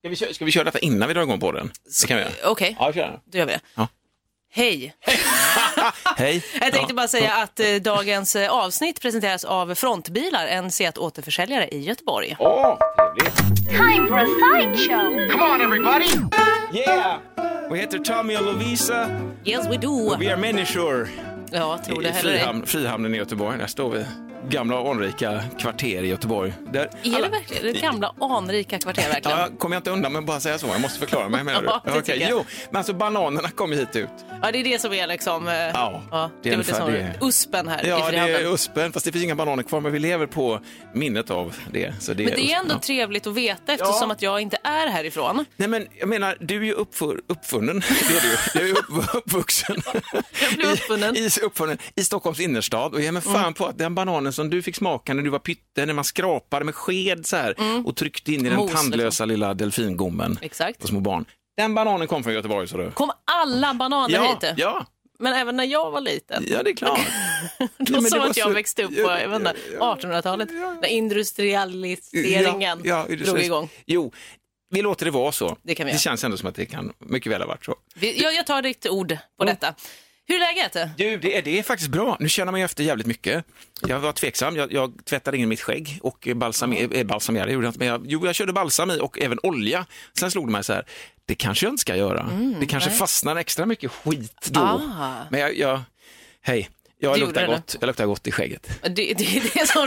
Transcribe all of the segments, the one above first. Ska vi, köra, ska vi köra detta innan vi drar igång på den? Det kan vi göra. Okej, Ja, kör den. då gör vi det. Ja. Hej! Hej. Jag tänkte Ja. bara säga att eh, dagens eh, avsnitt presenteras av Frontbilar, en Seat-återförsäljare i Göteborg. Åh, trevligt. Time for a sideshow. Yeah! Vi heter Tommy och Lovisa. Yes we do! Vi är människor. Ja, tror det I heller ej. Frihamn, Frihamnen i Göteborg. Där står vi. Gamla anrika kvarter i Göteborg. Där Är det verkligen det är ett gamla anrika kvarter verkligen? Ja, kommer jag inte undan med att bara säga så? Jag måste förklara mig menar du? Ja, det Okej, tycker jag. Jo, men alltså bananerna kom ju hit ut. Ja, det är det som är liksom... eh, Ja, det det är är väl det ungefär som det. uspen här i Ja, det Frihamnen. är uspen, fast det finns inga bananer kvar, men vi lever på minnet av det. Så det Men det är uspen, ändå ja. trevligt att veta eftersom Ja. att jag inte är härifrån. Nej, men jag menar, du är ju uppför, uppfunnen. Det är du. ju. Du är ju upp, uppvuxen. Jag blev uppfunnen. Mm. I, i, uppfunnen i Stockholms innerstad. Och jag är med fan på att den bananen som du fick smaka när du var pytte, när man skrapade med sked så här och tryckte in i den Mm. Mos, liksom. tandlösa lilla delfingommen Exakt. på små barn. Den bananen kom från Göteborg, sa du. Kom alla bananer Ja, hit? ja, Men även när jag var liten? ja, det är klart. Då men det sa var att jag så- växte upp på Ja, jag vet inte, ja, 1800-talet när industrialiseringen Ja, ja, är det drog så- igång. Jo, vi låter det vara så. Det kan vi det göra. känns ändå som att det kan mycket väl ha varit så. Vi, jag, jag tar ditt ord på Mm. detta. Hur är läget? Du, det är, det är faktiskt bra. Nu känner man ju efter jävligt mycket. Jag var tveksam. Jag, jag tvättade in mitt skägg och balsamer, eh, balsamerade gjorde jag inte. Men jag, jo, jag körde balsam i och även olja. Sen slog det mig så här, det kanske jag inte ska göra. det kanske fastnar extra mycket skit då. Mm, Ah. Men jag, jag hej, jag Det luktar, gjorde det. gott, jag luktar gott i skägget. Det, det är det som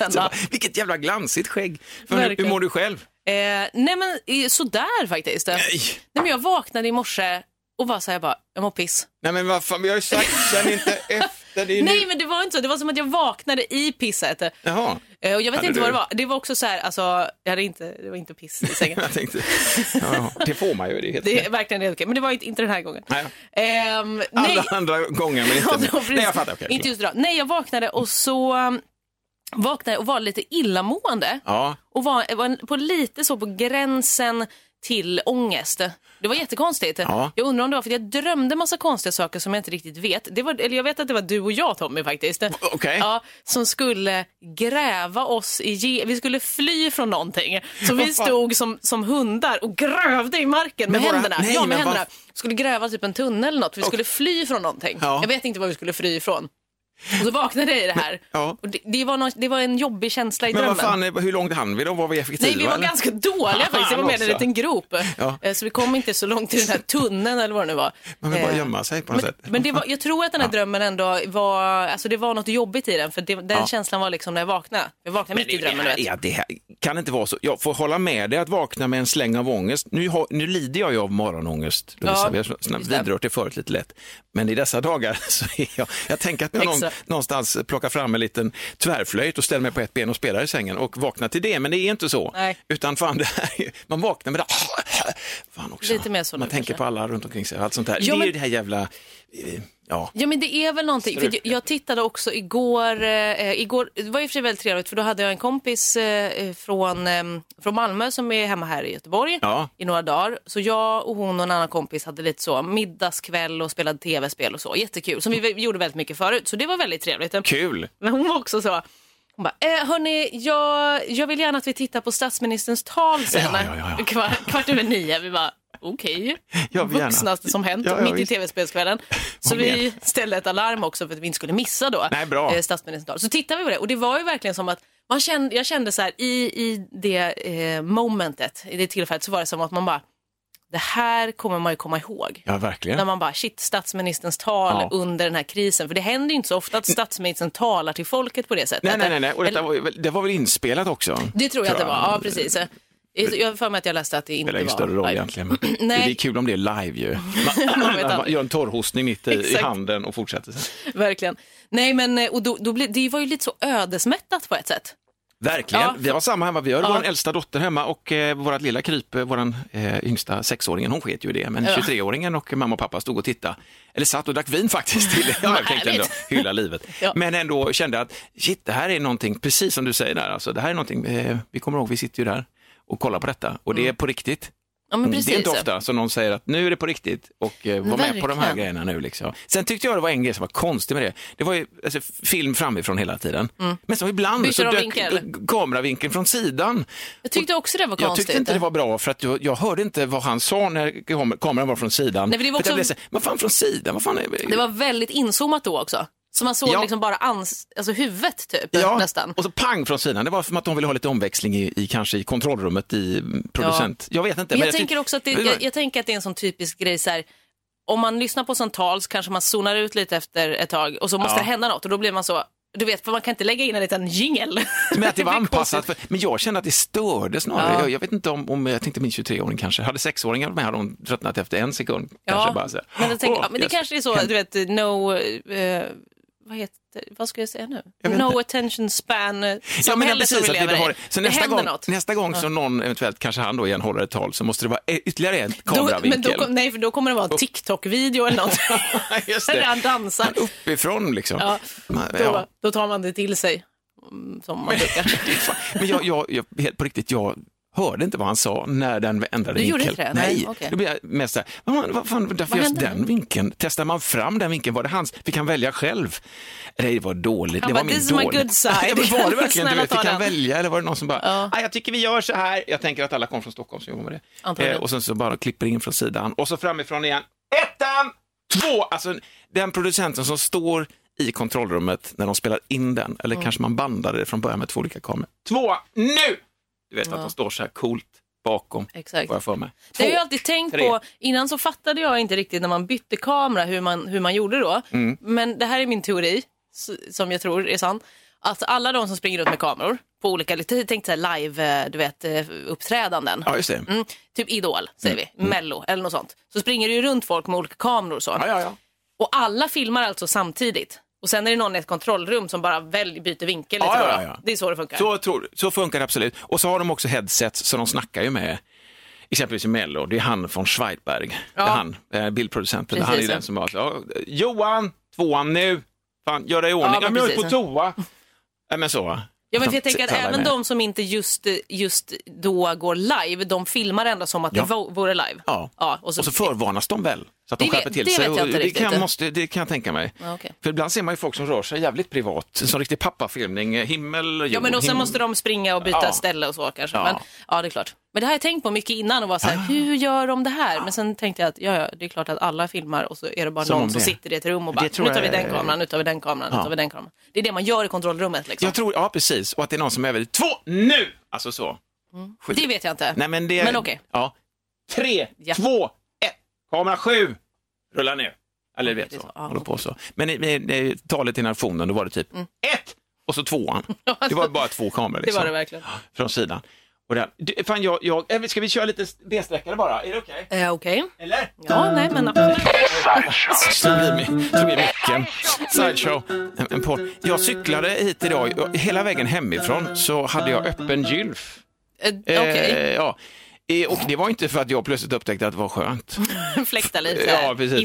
ändå. Eh, Vilket jävla glansigt skägg. För hur, hur Verkligen. mår du själv? nej men eh, sådär faktiskt. Nej. men jag vaknade i morse och bara så här, jag bara, jag mår piss. Nej men vad fan, vi har ju sagt känn inte efter. Det är ju Nej nu. men det var inte så, det var som att jag vaknade i pisset. Eh, Jaha, och jag vet Hade inte vad du- det var. Det var också så här, alltså, jag hade inte, det var inte piss i sängen. jag tänkte, ja, ja. det får man ju. Det är helt... Det är verkligen helt okej, men det var inte, inte den här gången. Nej. Ehm, Alla nej. andra gånger men Ja, inte det nu. var precis- Nej, jag fattar. okej. Inte just idag. Nej, jag vaknade och så um, vaknade jag och var lite illamående. Ja, Och var, var en- på lite så på gränsen till ångest. Det var jättekonstigt. Ja. Jag undrar om det var för att jag drömde massa konstiga saker som jag inte riktigt vet. Det var, eller jag vet att det var du och jag Tommy faktiskt. okej. Ja, som skulle gräva oss i Vi skulle fly från någonting. Så vi Vad fan? stod som, som hundar och grävde i marken med Med våra- händerna. Nej, ja, men med händerna. Skulle gräva typ en tunnel eller något. Vi skulle fly från någonting. Ja. Jag vet inte vad vi skulle fly ifrån. Och så vaknade jag i det här. ja. Och det, det, var någon, det var en jobbig känsla i Men drömmen. vad fan, hur långt hann vi då? Var vi effektiva? Nej, vi var eller? ganska dåliga faktiskt. Det var Fan med i en också. liten grop. Ja. Eh, Så vi kom inte så långt till den här tunneln eller vad det nu var. Man vill bara Eh, gömma sig på något sätt. Men det var, jag tror att den här drömmen ändå var, alltså det var något jobbigt i den för det, den Ja. känslan var liksom när jag vaknade. Jag vaknade mitt i drömmen. det, du här, vet. är- det här kan inte vara så. Jag får hålla med dig att vakna med en släng av ångest. Nu, har, nu lider jag ju av morgonångest. Lovisa. Ja, Vi har snabbt just det. vidrört det förut lite lätt. Men i dessa dagar så är jag... Jag tänker att jag någon, Extra. någonstans plockar fram en liten tvärflöjt och ställer mig på ett ben och spelar i sängen och vaknar till det. Men det är inte så. Nej. Utan fan, det här, är- man vaknar med det fan också. Lite mer så nu, man tänker kanske. på alla runt omkring sig och allt sånt där. Ja, det är men- ju det här jävla... eh, Ja. Ja men det är väl någonting, för Strut. jag tittade också igår, eh, igår, det var i och för sig väldigt trevligt för då hade jag en kompis eh, från, eh, från Malmö som är hemma här i Göteborg Ja. i några dagar. Så jag och hon och en annan kompis hade lite så middagskväll och spelade tv-spel och så, jättekul, som vi Mm. vi gjorde väldigt mycket förut. Så det var väldigt trevligt. Kul! Men hon var också så. Hon bara, eh, hörni, jag, jag vill gärna att vi tittar på statsministerns tal sen. Ja, ja, ja, ja. Kvart, kvart över nio. Vi bara, okej. Ja, vi gärna. Vuxnaste som hänt Ja, ja, mitt i visst. tv-spelskvällen. Så Vad vi ställde ett alarm också för att vi inte skulle missa då Nej, bra. eh, statsministerns tal. Så tittade vi på det och det var ju verkligen som att man kände, jag kände så här i, i det eh, momentet, i det tillfället så var det som att man bara, det här kommer man ju komma ihåg. Ja, verkligen. När man bara, shit, statsministerns tal Ja. under den här krisen. För det händer ju inte så ofta att statsministern talar till folket på det sättet. Nej, nej, nej, nej. Och detta Eller- var, ju- det var väl inspelat också? Det tror jag att det tror var, jag. ja precis. Jag har för mig att jag läste att det inte spelar ingen var större roll live. egentligen. Men Nej. Det är kul om det är live ju. Man vet Man aldrig. gör en torrhostning mitt i, i Exakt. handen och fortsätter sen. Verkligen. Nej, men eh, och då, då blir, det var ju lite så ödesmättat på ett sätt. Verkligen. Ja. Vi har samma hemma. Vi har Ja. vår äldsta dotter hemma och eh, vårt lilla krype, vår eh, yngsta sexåringen, hon sket ju i det. Men 23-åringen och mamma och pappa stod och tittade, eller satt och drack vin faktiskt. Till, ja, jag tänkte ändå Härligt. hylla livet. Ja. Men ändå kände att shit, det här är någonting, precis Mm. som du säger där, alltså, det här är någonting, eh, vi kommer ihåg, vi sitter ju där och kollar på detta och det är på riktigt. Ja, men det är inte precis. ofta som någon säger att nu är det på riktigt och eh, var med på de här Verkligen. grejerna nu. Liksom. Sen tyckte jag det var en grej som var konstig med det. Det var ju alltså, film framifrån hela tiden. Men som ibland Mm. Byter så de dök vinkel? eh, kameravinkeln från sidan. Jag tyckte också det var Jag konstigt. eh. tyckte inte det var bra för att jag, jag hörde inte vad han sa när kam- kameran var från sidan. Nej, för det var För att jag också- blev så här, Vad fan från sidan? Vad fan är Det var väldigt inzoomat då också. Så man såg Ja. liksom bara ans- alltså huvudet typ Ja, nästan. och så pang från sidan. Det var som att de ville ha lite omväxling i, i kanske i kontrollrummet i mm, producent. Jag vet inte. Men men jag, tyck- tänker också att det, Men- jag, jag tänker att det är en sån typisk grej så här, om man lyssnar på sånt tal så kanske man zonar ut lite efter ett tag och så måste Ja. det hända något och då blir man så, du vet, för man kan inte lägga in en liten jingel. Men att det var blir konstigt. anpassat. För, men jag kände att det störde snarare. Ja. Jag, jag vet inte om, om, jag tänkte min 23-åring kanske, hade 6-åringar med hade de tröttnat efter en sekund. Kanske bara så här, men, jag tänker, "Åh, ja, men det yes." kanske är så, du vet, no... eh, vad, heter, vad ska jag säga nu? Jag vet no inte. attention span eh, Ja, men samhälle ja, precis, som vi att vi lever har, i. så det nästa händer gång, något. nästa gång som någon, eventuellt kanske han då igen håller ett tal, så måste det vara e- ytterligare en Då, men kameravinkel. då, kom- nej, för då kommer det vara en TikTok-video eller något. Just Där det. han dansar. Uppifrån liksom. Ja, Man- Då, ja. då tar man det till sig. mm, Som man brukar. Men jag, jag, jag, helt på riktigt, jag hörde inte vad han sa när den ändrade Du gjorde vinkeln. inte det? Nej, Nej, okej. då blev jag mest så här, vad, fan- vad fan, varför Vad görs hände? den vinkeln? Testar man fram den vinkeln, var det hans? Fick han välja själv? Nej, det var dåligt. Han det bara, var min "This is my dåliga. good side." Ja, men var det verkligen du Snälla vet, ta Fick han den. välja eller var det någon som bara, Ja. "Ah, jag tycker vi gör så här. Jag tänker att alla kom från Stockholm som jobbar med det. Eh, Antagligen. och sen så bara klipper in från sidan och så framifrån igen. Ettan, två! Alltså den producenten som står i kontrollrummet när de spelar in den, eller kanske man bandade det från början med två olika kameror. Två, nu! Du vet att de står så här coolt bakom, Exakt. får jag för mig. Det har jag Två. alltid tänkt tre. på, innan så fattade jag inte riktigt när man bytte kamera hur man, hur man gjorde då. Mm. Men det här är min teori, s- som jag tror är sann. Att alla de som springer runt med kameror på olika, tänk så här live, eh, du vet, eh, uppträdanden. Ja, Mm. just det. Mm, typ Idol, säger vi, Mello eller något sånt. Så springer det ju runt folk med olika kameror och så. Ja, ja, ja. Och alla filmar alltså samtidigt. Och sen är det någon i ett kontrollrum som bara väl, byter vinkel lite Ja, då, ja, då. ja. Det är så det funkar. Så, tror, så funkar det absolut. Och så har de också headsets så de snackar ju med exempelvis i Mello, det är han från Schweizberg, det är han, eh, bildproducenten, Precis, han är ja. den som bara, ja, Johan, tvåan nu, fan gör dig i ordning, Ja, ja, men men jag är på precis, toa. Nej men så va? Ja, men Utan för jag tänker att alla är även med. de som inte just, just då går live, de filmar ändå som att Ja. det vo- vore live. Ja. och så, Och så förvarnas de väl, så att de Det skärper vet- till det sig. vet jag och inte det, riktigt. kan, måste, det kan jag tänka mig. Ja, okej. För ibland ser man ju folk som rör sig jävligt privat, som riktig pappafilmning, eh, himmel, jord, ja, men och sen himmel. måste de springa och byta Ja. ställe och så kanske. Ja. Ah. Men, ja, det är klart. Men det har jag tänkt på mycket innan och var så här, hur gör de det här? Men sen tänkte jag att ja, ja, det är klart att alla filmar och så är det bara Som om någon som det. sitter i ett rum och Det bara, tror nu tar vi jag den är- kameran, nu tar vi den kameran, nu Ja. tar vi den kameran. Det är det man gör i kontrollrummet liksom. Jag tror, ja precis, och att det är någon som är väldigt, två, nu! Alltså så. Skit. Det vet jag inte. Nej, men det... Men okej. Ja. Tre, Ja. två, ett. Kamera sju. Rulla nu. Eller du vet Det är så. så, ja. Mm. Håller på så. Men i, i, i talet till nationen, då var det typ ett och så tvåan. Ja, Det var bara två kameror det liksom, var det verkligen. från sidan. Och där, du, fan, jag, jag, eh, ska vi köra lite bensträckare bara? Är det okej? Eh, Okej. Eller? Ja, nej men absolut. Slog i, mi- slog i micken. Sideshow. En, en podd. Jag cyklade hit idag. och Hela vägen hemifrån så hade jag öppen gylf. Eh, Okej, Eh, ja. Eh, Och det var inte för att jag plötsligt upptäckte att det var skönt. fläkta lite Ja, här precis. i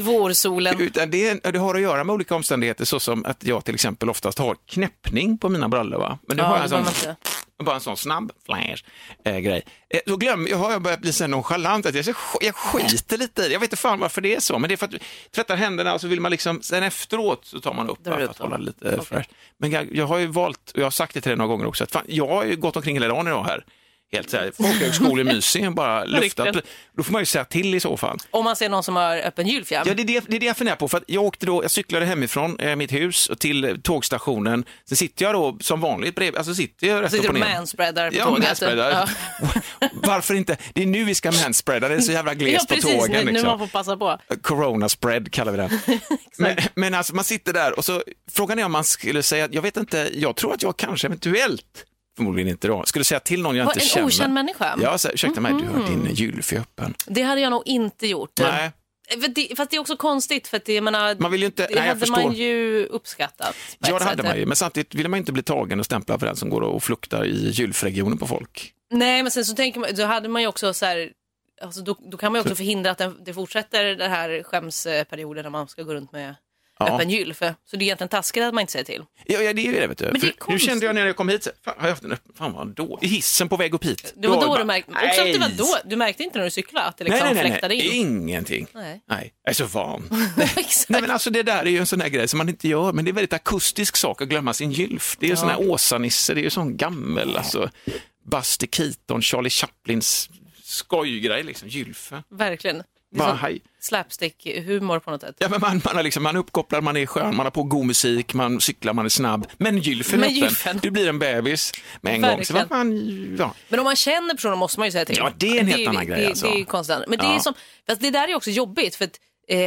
vårsolen. Utan det, det har att göra med olika omständigheter såsom att jag till exempel oftast har knäppning på mina brallor. Va? Men nu Ja, har jag det en var sån, man inte. bara en sån snabb flash, eh, grej. Eh, då glöm, jag har jag börjat bli så här nonchalant att jag, så, jag skiter lite i det. Jag vet inte fan varför det är så, men det är för att du tvättar händerna och så vill man liksom, sen efteråt så tar man upp Drar va, ut för att dem. hålla det lite eh, Okej. fräscht. Men jag, jag har ju valt, och jag har sagt det till dig några gånger också, att fan, jag har ju gått omkring hela dagen idag här. Helt så här, folkhögskolemysig, bara luftat. Verkligen. Då får man ju säga till i så fall. Om man ser någon som har öppen gylfjärm. Ja, det är det, det är det jag funderar på. För att jag, åkte då, jag cyklade hemifrån eh, mitt hus till eh, tågstationen. Sen sitter jag då som vanligt bredvid, alltså sitter jag rätt Sitter upp och och ner. manspreadar på Ja, tåget. manspreadar. Varför inte? Det är nu vi ska manspreada, det är så jävla ja, glest precis. på tågen. nu, nu liksom. man får passa på. Corona spread kallar vi den. men men alltså, man sitter där och så frågan är om man skulle säga, jag vet inte, jag tror att jag kanske eventuellt, förmodligen inte då, skulle säga till någon jag Var inte en känner. okänd människa? Mm. Ja, så, ursäkta mig, du har din gylfi öppen. Det hade jag nog inte gjort. Nej, För det- Fast det är också konstigt, för att det, jag menar, man vill ju inte, det nej jag hade förstår. man ju uppskattat. på Ja, ett det hade sätt. man ju. Men samtidigt ville man ju inte bli tagen och stämplad för den som går och fluktar i gylfregionen på folk. Nej, men sen så tänker man, då hade man ju också så här, alltså då, då kan man ju också förhindra att den, det fortsätter den här skämsperioden när man ska gå runt med Ja. öppen gylfe. Så det är egentligen taskigt att man inte säger till. Ja, ja, det är det vet du. det är För nu konstigt. kände jag när jag kom hit, så- fan, har jag haft en öppen, fan vad då? I hissen på väg upp hit. Det var då bara- du märkte, också att det var Nej. då, du märkte inte när du cyklade att det liksom Nej, nej, nej, fläktade nej. in. ingenting. Nej. Nej, jag är så van. Exakt. Nej men alltså det där är ju en sån där grej som man inte gör, men det är en väldigt akustisk sak att glömma sin gylf. Det är ju sån här Åsa-Nisse, det är ju sån gammel, alltså Buster Keaton, Charlie Chaplins skojgrej liksom, gylfen. Verkligen. Det Bara är sån hej. slapstick-humor på något sätt. Ja, men man, man, är liksom, man är uppkopplad, man är skön, man har på god musik, man cyklar, man är snabb. Men gylfen är Men öppen. gylfen. Du blir en bebis med en gång. Så Verkligen. man, ja. Men om man känner personen måste man ju säga till. Ja, det är en helt ju- annan grej, det, alltså. Det är ju konstant. Men det, Ja. är som, fast det där är också jobbigt för att eh,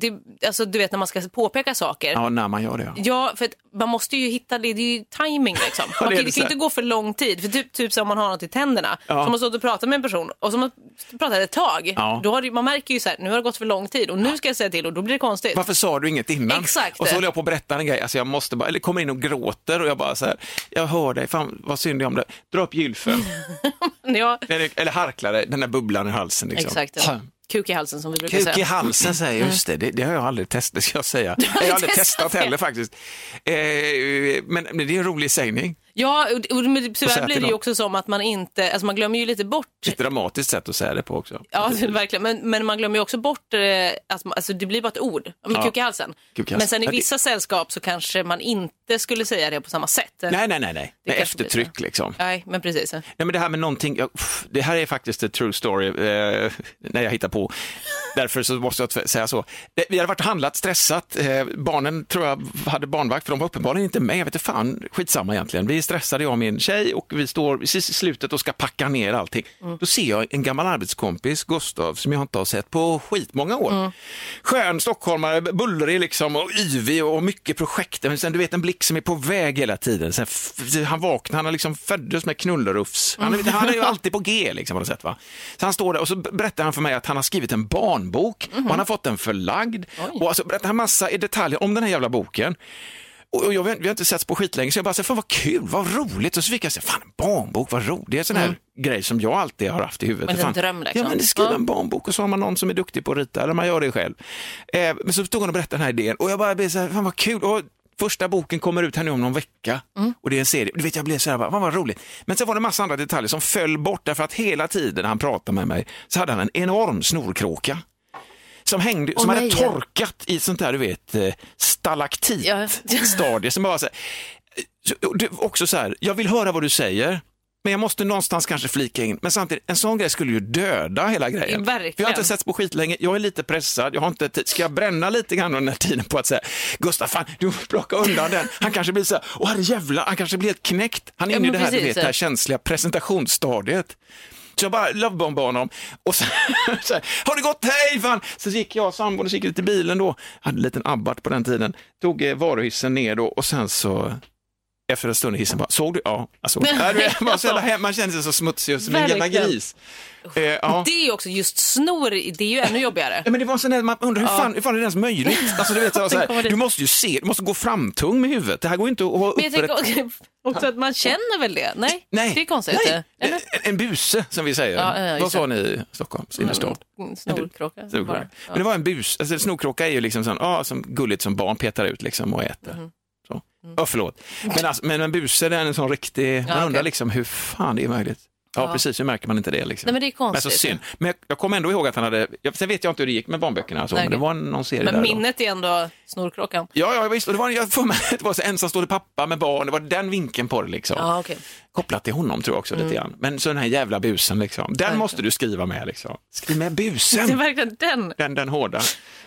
det, alltså, du vet när man ska påpeka saker. ja, när man gör det. Ja. Ja, för att man måste ju hitta det. Det är ju timing liksom. det Man är det kan, det kan ju så. inte gå för lång tid. För typ, typ som om man har något i tänderna. Ja. Så har man stått och pratat med en person och som man pratat ett tag. Ja. Då har det, man märker ju så här, nu har det gått för lång tid och nu ska jag säga till och då blir det konstigt. Varför sa du inget innan? Exakt. Och så håller jag på att berätta en grej, alltså jag måste bara, eller kommer in och gråter och jag bara så här, jag hör dig, fan vad synd det är om det. Dra upp gylfen, Ja, eller, eller harkla dig, den där bubblan i halsen. Liksom. exakt. Alltså- Ha. Kuk i halsen som vi brukar Kuk i säga. halsen säger jag, just det, det, det har jag aldrig testat ska jag säga. Jag har aldrig aldrig testat testat det? heller faktiskt. Eh, men, men det är en rolig sägning, Ja, och, och, men säga tyvärr till blir det någon. ju också som att man inte, alltså man glömmer ju lite bort ett dramatiskt sätt att säga det på också. Ja, verkligen. Men, men man glömmer ju också bort, eh, att man, alltså det blir bara ett ord, ja, men Ja. kuk i halsen. Kuk i halsen. Men sen i Ja, det- vissa sällskap så kanske man inte skulle säga det på samma sätt. Nej, nej, nej, nej. Med kanske blir eftertryck liksom. Nej, men precis. Nej, men det här med någonting, jag, pff, det här är faktiskt en true story eh, när jag hittar på. Därför så måste jag tv- säga så. Eh, Vi hade varit och handlat, stressat. Eh, barnen tror jag hade barnvakt för de var uppenbarligen inte med. Jag vet inte fan, skitsamma egentligen. Vi är stressade, jag och min tjej och vi står precis i slutet och ska packa ner allting. Mm. Då ser jag en gammal arbetskompis, Gustav, som jag inte har sett på skitmånga år. Skön stockholmare, bullrig liksom och yvig och mycket projekt. Men sen du vet en blick som är på väg hela tiden. Sen, f- han vaknar, han har liksom föddes med knullerufs. Han, är- han är ju alltid på G liksom på något sätt. Va? Så han står där och så berättar han för mig att han har skrivit en barnbok och han har fått den förlagd. Och alltså berättar han massa i detaljer om den här jävla boken. Och och jag, vet- vi har inte setts på skitlänge så jag bara, så, fan vad kul, vad roligt. Och så fick jag säga, fan en barnbok, vad roligt. Det är en sån Mm. här grej som jag alltid har haft i huvudet. En liten fan, dröm, liksom. Ja, men skriva Ja. en barnbok och så har man någon som är duktig på att rita, eller man gör det själv. Eh, men så stod hon och berättade den här idén och jag bara blev så här, fan vad kul. Och Första boken kommer ut här nu om någon vecka Mm. och det är en serie. Du vet, jag blev så här, bara, fan vad roligt. Men sen var det massa andra detaljer som föll bort därför att hela tiden när han pratade med mig så hade han en enorm snorkråka. Som, hängde, som hade nej. torkat i sånt där, du vet, eh, stalaktit Ja. stadie som bara så här, så- och det- också så här, jag vill höra vad du säger, men jag måste någonstans kanske flika in. Men samtidigt, en sån grej skulle ju döda hela grejen. Verkligen. För jag har inte setts på skitlänge, jag är lite pressad, jag har inte tid. Ska jag bränna lite grann under den här tiden på att säga, Gustaf, fan, du måste plocka undan den. Han kanske blir så här, åh herrejävlar, han kanske blir helt knäckt. Han är Ja, inne i men det här, du precis. vet, det här känsliga presentationsstadiet. Så jag bara lovebombade honom och så, så här, har det gått, hej fan! Så gick jag och sambon och så gick vi till bilen då, hade en liten abbart på den tiden, tog eh, varuhissen ner då och sen så efter en stund i hissen bara, såg du? Ja, jag såg. Nej, du vet, man, var så jävla hem- man kände sig så smutsig och som en jävla Verkligen. gris. Eh, ja. Det är ju också just snor, i- det är ju ännu jobbigare. Ja, men det var en sån där, man undrar hur fan, hur fan är det ens möjligt? Alltså, du, vet, så, så här, kommer dit. du måste ju se, du måste gå framtung med huvudet. Det här går ju inte att ha Men jag tänker upprätt- också- också att man känner väl det? Nej, Nej, det är konstigt. Nej. En, Eller? en buse som vi säger. Ja, ja, just Vad sa det. ni i Stockholms innerstad? Mm, Snorkråka. Snorkråka. bara. Men det var en bus, alltså snorkråka är ju liksom sån, ah, som gulligt som barn petar ut liksom och äter. Mm-hmm. Så. Mm. Ja, förlåt. Men, alltså, men en buse det är en sån riktig, man okej. undrar liksom hur fan det är möjligt. Ja, precis, hur märker man inte det liksom? Nej, men det är konstigt. Men så synd. Men jag, jag kommer ändå ihåg att han hade, jag, sen vet jag inte hur det gick med barnböckerna, alltså, Nej, men det okej. var någon serie där. Men då. minnet är ändå snorkråkan. Ja, ja, visst. Och det var, jag får mig att det var så ensamstående pappa med barn, det var den vinkeln på det liksom. Ja, Mm. okej. Kopplat till honom tror jag också lite grann. Men så den här jävla busen liksom, den måste du skriva med liksom. Skriv med Det är busen! verkligen den. Den, den hårda.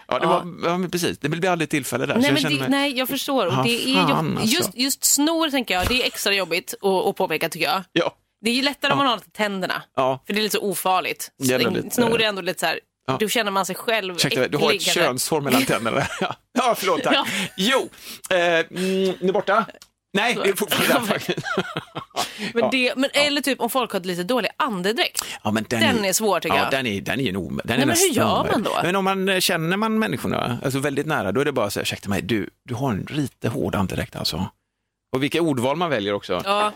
Ja, det var, ja men precis. Det blev aldrig tillfälle där. så Nej, jag men känner det, mig- nej, jag förstår. Och Ah, det är fan, jobb... alltså. just, just snor tänker jag, det är extra jobbigt att, att påpeka tycker jag. Ja, Det är ju lättare om man har något i tänderna, Ja. för det är lite så ofarligt. Gäller lite- Släng- Snor är ändå lite så här, Ja. då känner man sig själv ursäkta, du har ett liggande. könshår mellan tänderna. Ja, ja förlåt. Tack. Ja. Jo, eh, mm, nu borta. Nej, det är fortfarande där faktiskt. Men, det, men Eller typ om folk har lite dålig andedräkt. Ja, men den, Den är svår tycker ja, jag. Den är, den är ju en omö- den är men nästan hur gör omöjlig. man då? Men om man eh, känner man människorna alltså väldigt nära, då är det bara så här, ursäkta mig, du, du har en lite hård andedräkt alltså. Och vilka ordval man väljer också. Ja,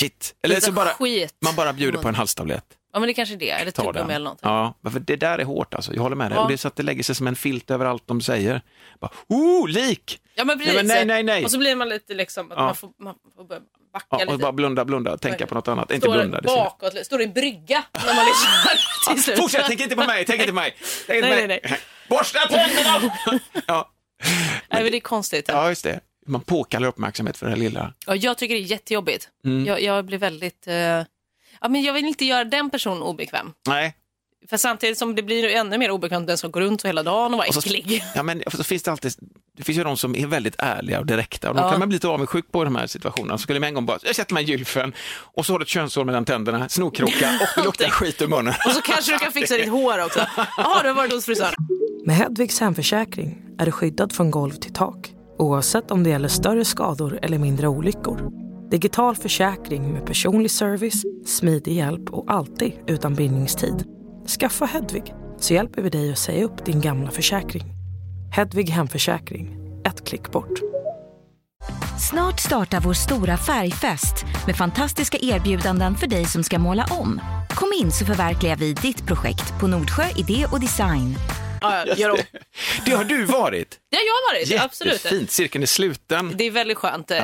Shit. Eller Lite så bara, skit. man bara bjuder på en halstablett. Ja, men det kanske är det. Eller Ta tuggummi den. Typ eller något. Ja, för det där är hårt alltså. Jag håller med dig. Ja. Och det är så att det lägger sig som en filt över allt de säger. Bara, oh, lik! Ja, men precis. Nej, men nej, nej, nej. Och så blir man lite liksom att Ja. man, får, man får börja backa Ja, lite. och bara blunda, blunda, tänka på något annat. Inte står blunda. det ser jag. bakåt, lite. står i en brygga när man lyssnar till slut. Fortsätt, tänk inte på mig, tänk inte på mig. Tänk inte Nej, på mig. nej, Borsta tänderna! ja, Nej, men det är konstigt. Ja. ja, just det. Man påkallar uppmärksamhet för det här lilla. jag tycker det är jättejobbigt. Mm. Jag, jag blir väldigt... eh, Ja, men jag vill inte göra den personen obekväm. Nej. För samtidigt som det blir ännu mer obekvämt den som går runt så hela dagen och var Och så- äcklig. Ja, men så finns det alltid, det finns ju de som är väldigt ärliga och direkta och de Ja. kan man bli lite avundsjuk på i de här situationerna. Så skulle man en gång bara, jag sätter mig i gylfen och så har du ett könshår mellan tänderna, snorkråka och det luktar skit ur munnen. Och så kanske du kan fixa ditt hår också. Jaha, du har varit hos frisören. Med Hedvigs hemförsäkring är du skyddad från golv till tak oavsett om det gäller större skador eller mindre olyckor. Digital försäkring med personlig service, smidig hjälp och alltid utan bindningstid. Skaffa Hedvig så hjälper vi dig att säga upp din gamla försäkring. Hedvig hemförsäkring, ett klick bort. Snart startar vår stora färgfest med fantastiska erbjudanden för dig som ska måla om. Kom in så förverkligar vi ditt projekt på Nordsjö Idé och Design. Ja, ja, gör om. Det har du varit. Det har jag varit, absolut. Jättefint, cirkeln är sluten. Det är väldigt skönt. Eh,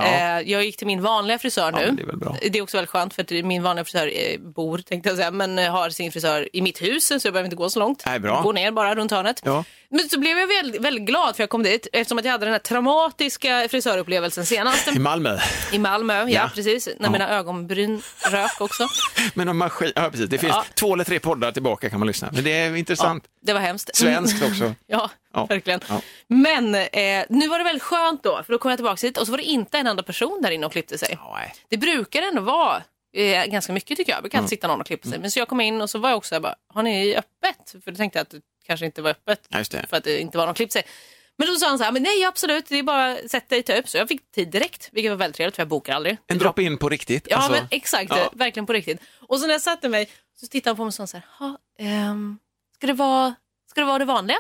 Jag gick till min vanliga frisör nu. Ja, men det är väl bra. Det är också väldigt skönt för att min vanliga frisör eh, bor, tänkte jag säga, men eh, har sin frisör i mitt hus så jag behöver inte gå så långt. Nej, bra. Gå ner bara runt hörnet. Ja. Men så blev jag väldigt, väldigt glad för jag kom dit eftersom att jag hade den här traumatiska frisörupplevelsen senast I Malmö. i Malmö. Ja, Ja. precis. När Ja. mina ögonbryn rök också. Men om maskin, ja, precis. Det finns Ja. två eller tre poddar tillbaka kan man lyssna. Men det är intressant. Det var hemskt. Svenskt också. Ja, Ja. verkligen. Ja. Men eh, nu var det väldigt skönt då, för då kom jag tillbaka hit och så var det inte en enda person där inne och klippte sig. Ja, nej. Det brukar ändå vara eh, ganska mycket tycker jag. Det brukar Mm. alltid sitta någon och klippa sig. Men så jag kom in och så var jag också jag bara, har ni öppet? För då tänkte jag att det kanske inte var öppet Ja, just det. för att det inte var någon klippt sig. Men då sa han så här, men nej absolut, det är bara sätt dig typ. Så jag fick tid direkt, vilket var väldigt trevligt för jag bokar aldrig. En drop-in på riktigt. Ja alltså. men exakt, Ja. verkligen på riktigt. Och så när jag satte mig så tittade han på mig och sa så här, "Ha, ehm, ska, det vara, ska det vara det vanliga?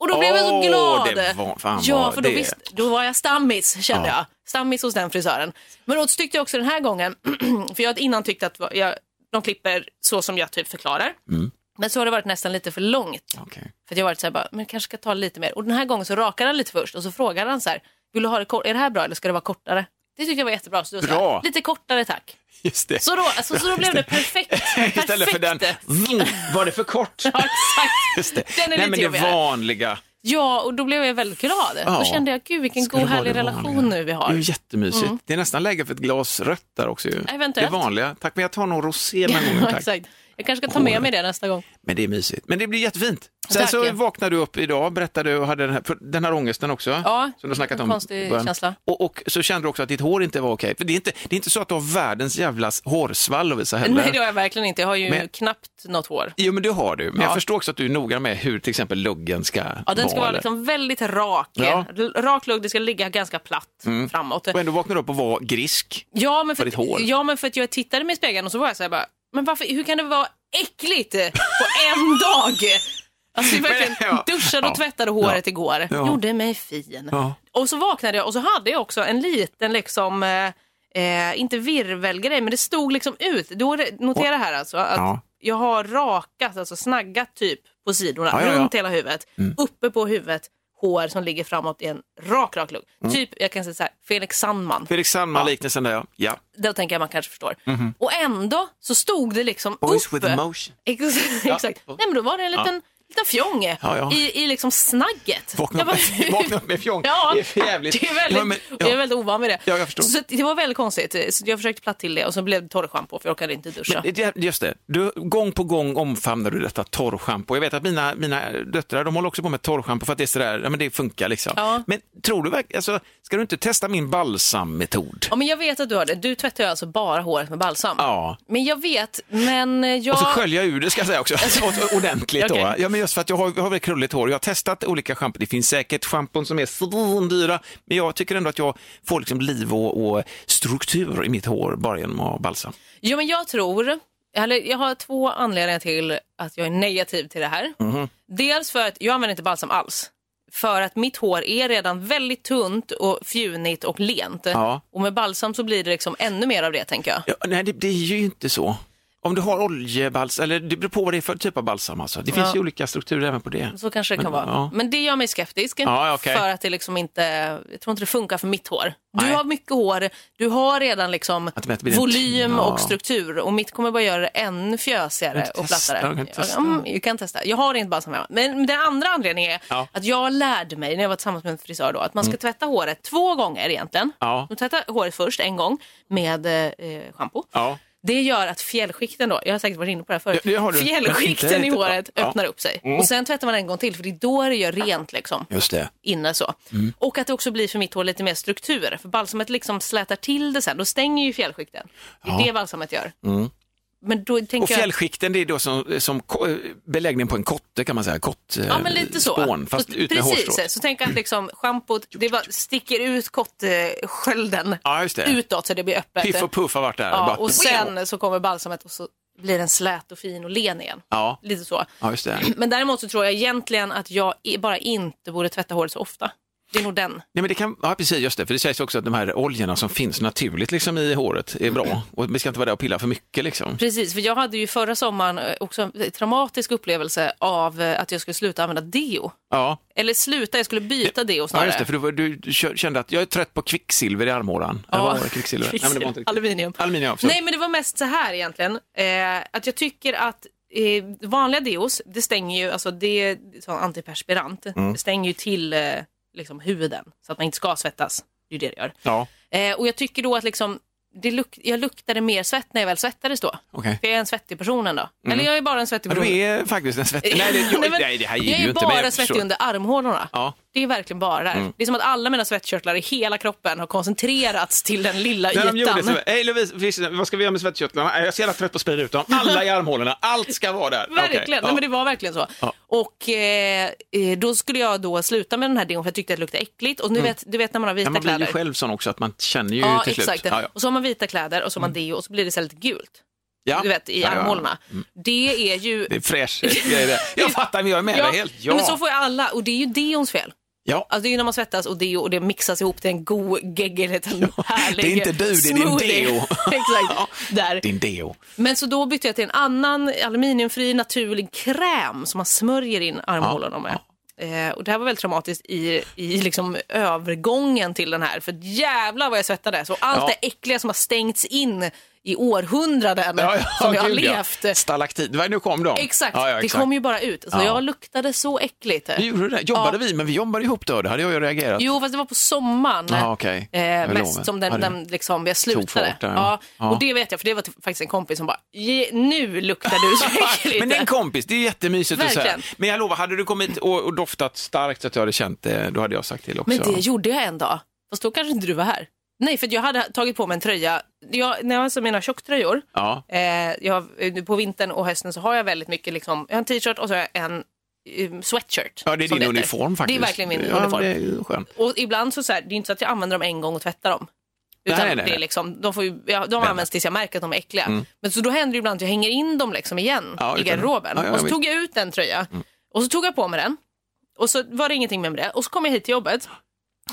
Och då blev jag så Åh, glad. det var- fan ja, vad för då, det- visst, då var jag stammis kände Ja. jag. Stammis hos den frisören. Men då tyckte jag också den här gången, för jag hade innan tyckt att jag, de klipper så som jag typ förklarar. Mm. Men så har det varit nästan lite för långt. Okej. För att jag har varit så här, bara, men jag kanske ska ta lite mer. Och den här gången så rakade han lite först och så frågade han så här, vill du ha det kort? Är det här bra eller ska det vara kortare? Det tyckte jag var jättebra. Så då sa jag, Bra. lite kortare tack. Just det. Så då, alltså, så då blev det perfekt. perfekt. Istället för den, vroom, var det för kort? Ja, exakt. Just det. Den är Nej, lite men det jobbigare. vanliga. Ja, och då blev jag väldigt glad. Ja. Då kände jag, gud vilken Ska god det vara härlig det vanliga? relation nu vi Det är ju har. Mm. jättemysigt. Det är nästan läge för ett glas rött där också. Ju. Eventuellt. Det vanliga. Tack, men jag tar nog rosé den här gången. Tack. exakt. Jag kanske ska ta med mig det nästa gång. Men det är mysigt. Men det blir jättefint. Sen Tack, så ja. vaknade du upp idag, berättade du, och hade den här, för den här ångesten också. Ja, som du har snackat en om. i konstig början. känsla. Och, och så kände du också att ditt hår inte var okej. För det är inte, det är inte så att du har världens jävla hårsvall att visa heller. Nej, det har jag verkligen inte. Jag har ju Men- knappt något hår. Jo, men det har du. Men jag Ja. förstår också att du är noga med hur till exempel luggen ska Ja, den ska vara eller- liksom väldigt rak. Ja. Mm. L- Rak lugg, det ska ligga ganska platt framåt. Och ändå vaknar du upp och var grisk. Ja men, för För ditt att, hår. ja, men för att jag tittade mig i spegeln och så var jag så här bara, men varför, hur kan det vara äckligt på en dag? Alltså jag verkligen ja. duschade och Ja. tvättade håret igår, Ja. gjorde mig fin. Ja. Och så vaknade jag och så hade jag också en liten liksom, eh, eh, inte virvelgrej, men det stod liksom ut. Då, är det- notera här alltså att Ja. jag har rakat, alltså snaggat typ på sidorna, Ja, Mm. ja, ja. runt hela huvudet, uppe på huvudet, hår som ligger framåt i en rak, rak lugg. Mm. Typ, jag kan säga så här, Felix Sandman. Felix Sandman-liknelsen där, ja. ja. Då tänker jag man kanske förstår. Och ändå så stod det liksom Mhm. Boys uppe. with motion. Ex- Exakt. Nej men då var det en liten, liten fjong Ja, ja. I, i liksom snagget. Vakna Jag upp, med- vakna upp med fjong. Ja, Det är för jävligt. Det är väldigt, Ja, men- ja. Jag är väldigt ovan vid det. Ja, jag förstår. Så att det var väldigt konstigt. Så jag försökte platt till det och så blev det torrschampo för jag orkade inte duscha. Men det- Just det, du, gång på gång omfamnar du detta torrschampo. Jag vet att mina, mina döttrar, de håller också på med torrschampo för att det är sådär, ja men det funkar liksom. Ja. Men tror du verkligen, alltså, ska du inte testa min balsammetod? Ja, men jag vet att du har det. Du tvättar ju alltså bara håret med balsam. Ja. Men jag vet, men jag... Och så sköljer jag ur det ska jag säga också, Alltså, ordentligt då. Okej. Ja, men just för att jag har, jag har väl krulligt hår, jag har testat olika schampon. Det finns säkert schampon som är svindyra, men jag tycker ändå att jag får liksom liv och, och struktur i mitt hår bara genom att balsam. Ja, men jag tror, eller jag har två anledningar till att jag är negativ till det här. Mhm. Dels för att jag använder inte balsam alls. För att mitt hår är redan väldigt tunt och fjunigt och lent. Ja. Och med balsam så blir det liksom ännu mer av det tänker jag. Ja, nej, det, det är ju inte så. Om du har oljebals, eller det beror på vad det är för typ av balsam alltså. Det finns Ja. ju olika strukturer även på det. Så kanske det Men, kan vara. ja. Men det gör mig skeptisk. Ja, okej. För att det liksom inte, jag tror inte det funkar för mitt hår. Du Nej. har mycket hår, du har redan liksom Att det blir en volym tin- ja. och struktur och mitt kommer bara göra det ännu fjösigare inte och testa, plattare. jag kan testa. Mm, jag kan testa. Jag har inte balsam hemma. Men den andra anledningen är Ja. Mm. att jag lärde mig när jag var tillsammans med en frisör då att man ska tvätta håret två gånger egentligen. Ja. Man tvättar håret först en gång med eh, shampoo. Ja. Det gör att fjällskikten då, jag har säkert varit inne på det här förut, Ja, det har du. Inte- fjällskikten i inte- håret ja. Mm. öppnar upp sig. Och sen tvättar man en gång till för det är då det gör rent liksom Just det. inne så. Mm. Och att det också blir för mitt hår lite mer struktur. För balsamet liksom slätar till det sen, då stänger ju fjällskikten. Det är det balsamet gör. Men då tänker Mm. Och jag... fjällskikten det är då som, som ko- eh, beläggning på en kotte kan man säga, kott, eh, Ja men lite så. spån, fast så ut med hårstrået. precis, så tänk att liksom schampot det bara sticker ut kottskölden Ja, just det. utåt så det blir öppet. Piff och Puff har varit där. ja, bara- och sen så kommer balsamet och så blir den slät och fin och len igen. Ja. Lite så. ja, just det. Men däremot så tror jag egentligen att jag i- bara inte borde tvätta håret så ofta. Det är nog den. Nej, men det kan, ja, precis, just det. För det sägs också att de här oljorna som finns naturligt liksom, i håret är Mm. bra. Och vi ska inte vara där och pilla för mycket. Liksom. Precis, för jag hade ju förra sommaren eh, också en traumatisk upplevelse av eh, att jag skulle sluta använda deo. Ja. Eller sluta, jag skulle byta deo ja, snarare. just det. För du, var- du kö- kände att jag är trött på kvicksilver i armhålan. Eller vad var det? Kvicksilver? Nej, men det var inte riktigt. Aluminium. Aluminium, absolut. Nej, men det var mest så här egentligen. Eh, att jag tycker att eh, vanliga deos, det stänger ju, alltså det är sån antiperspirant, Mm. det stänger ju till eh, liksom huden så att man inte ska svettas. Det är ju det det gör. Ja, Eh, och jag tycker då att liksom, det luk- jag luktade mer svett när jag väl svettades då. okej. För jag är en svettig person ändå. Eller jag är bara en svettig Mm. Ja, person. du är faktiskt en svettig. Nej, det, jag, nej, men det här jag ger är ju inte. men bara jag svettig förstår. under armhålorna. Ja. Mm. Det är verkligen bara där. Det är som att alla mina svettkörtlar i hela kroppen har koncentrerats till den lilla När de ytan. gjorde så, hej Lovisa, Lovisa, vad ska vi göra med svettkörtlarna? Nej, Jag är så jävla trött på att sprida ut dem. Alla i armhålorna, allt ska vara där. Okej, Verkligen, ja. Nej, men det var verkligen så. Ja. Och eh, eh, då skulle jag då sluta med den här deon för jag tyckte att det luktade äckligt. Och nu vet, du vet när man har vita Mm. Ja, man blir ju kläder. själv sån också, att man känner ju ja, till exakt. slut. Ja, ja. Och så har man vita kläder och så har man deo och så blir det så här lite gult. Ja. Du vet, i Ja, Mm. ja, ja. armhålorna. Det är ju... Det är fräsch grej det. Jag fattar, men jag är med dig helt. Ja. Men så får ju alla, och det är ju deons fel. ja. Alltså det är ju när man svettas och deo och det mixas ihop till en god geggig liten härlig det är inte du, det är din smoothie. deo. Exakt. Där. Din deo. Men så då bytte jag till en annan aluminiumfri naturlig kräm som man smörjer in armhålorna med. Eh, och det här var väldigt traumatiskt i, i liksom övergången till den här. För jävlar vad jag svettades och allt Ja. det äckliga som har stängts in i århundraden som jag har gud, levt. Ja. Stalaktit, Vad, nu kom de. Exakt, Ja, ja, det exakt. kom ju bara ut. Så Ja. jag luktade så äckligt. Vi gjorde det. Jobbade Ja. vi? Men vi jobbade ihop då, det hade jag ju reagerat. Jo, fast det var på sommaren. Ja, Ah, okej. Eh, Över mest loven. som den, Ja, det- den liksom, jag Tog slutade. fart där, ja. Ja. Och det vet jag, för det var typ faktiskt en kompis som bara, "Ge- nu luktar du så äckligt. Men det är en kompis, det är jättemysigt att säga. Verkligen. Men jag lovar, hade du kommit och, och doftat starkt så att jag hade känt det, då hade jag sagt till också. Men det gjorde jag en dag. Fast då kanske inte du var här. Nej, för jag hade tagit på mig en tröja. Jag, när jag har alltså mina tjocktröjor, Ja, eh, jag, har- eh, nu på vintern och hösten så har jag väldigt mycket, liksom, jag har en t-shirt och så har jag en um, sweatshirt. ja det är som din heter. uniform faktiskt. Det är verkligen min ja, uniform. Det är skönt. Och ibland så, så här, det är inte så att jag använder dem en gång och tvättar dem. Utan Nej, nej, nej. Det är liksom, de, får ju, ja, de används tills jag märker att de är äckliga. Men så då händer det ibland att jag hänger in dem liksom igen Ja, i utan- garderoben. Ja, ja, och så visst. Mm. tog jag ut en tröja och så tog jag på mig den. Och så var det ingenting mer med det. Och så kom jag hit till jobbet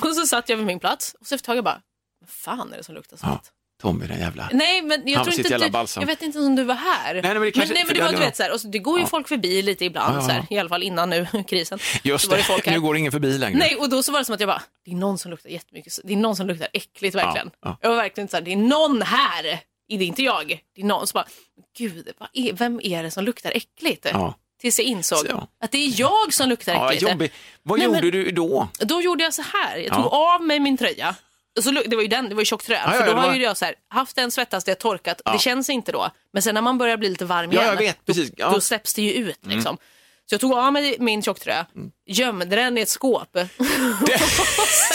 och så satt jag vid min plats och så efter ett tag jag bara, vad fan är det som luktar så Ja. gott? Tommy den jävla. Nej men jag Han tror sitter inte jävla att du, balsam. jag vet inte om du var här. Nej men det kanske- nej, men det för var det du var- vet så här, och så, det går ju folk förbi lite ibland Ja, ja, så här, ja. i alla fall innan nu krisen. Just så var det det, folk här. nu går ingen förbi längre. Nej, och då så var det som att jag bara, det är någon som luktar jättemycket, så- det är någon som luktar äckligt verkligen. Ja, ja. Jag var verkligen så här, det är någon här, det är inte jag. Det är någon som bara, gud, vad är, vem är det som luktar äckligt? Ja. Tills jag insåg Så, ja. att det är jag som luktar Ja, äckligt. jobbig. Vad Nej, gjorde men- du då? Då gjorde jag så här, jag Ja. tog av mig min tröja. Och Så, lu- det var ju den, det var ju tjocktröjan. Ja, ja, för då det har var- ju jag så här, haft en svettas, det har torkat, det känns inte då. Men sen när man börjar bli lite varm Ja, igen, jag vet, precis. Ja. Mm. då, då släpps det ju ut. Liksom. Så jag tog av mig min tjocktröja, gömde den i ett skåp.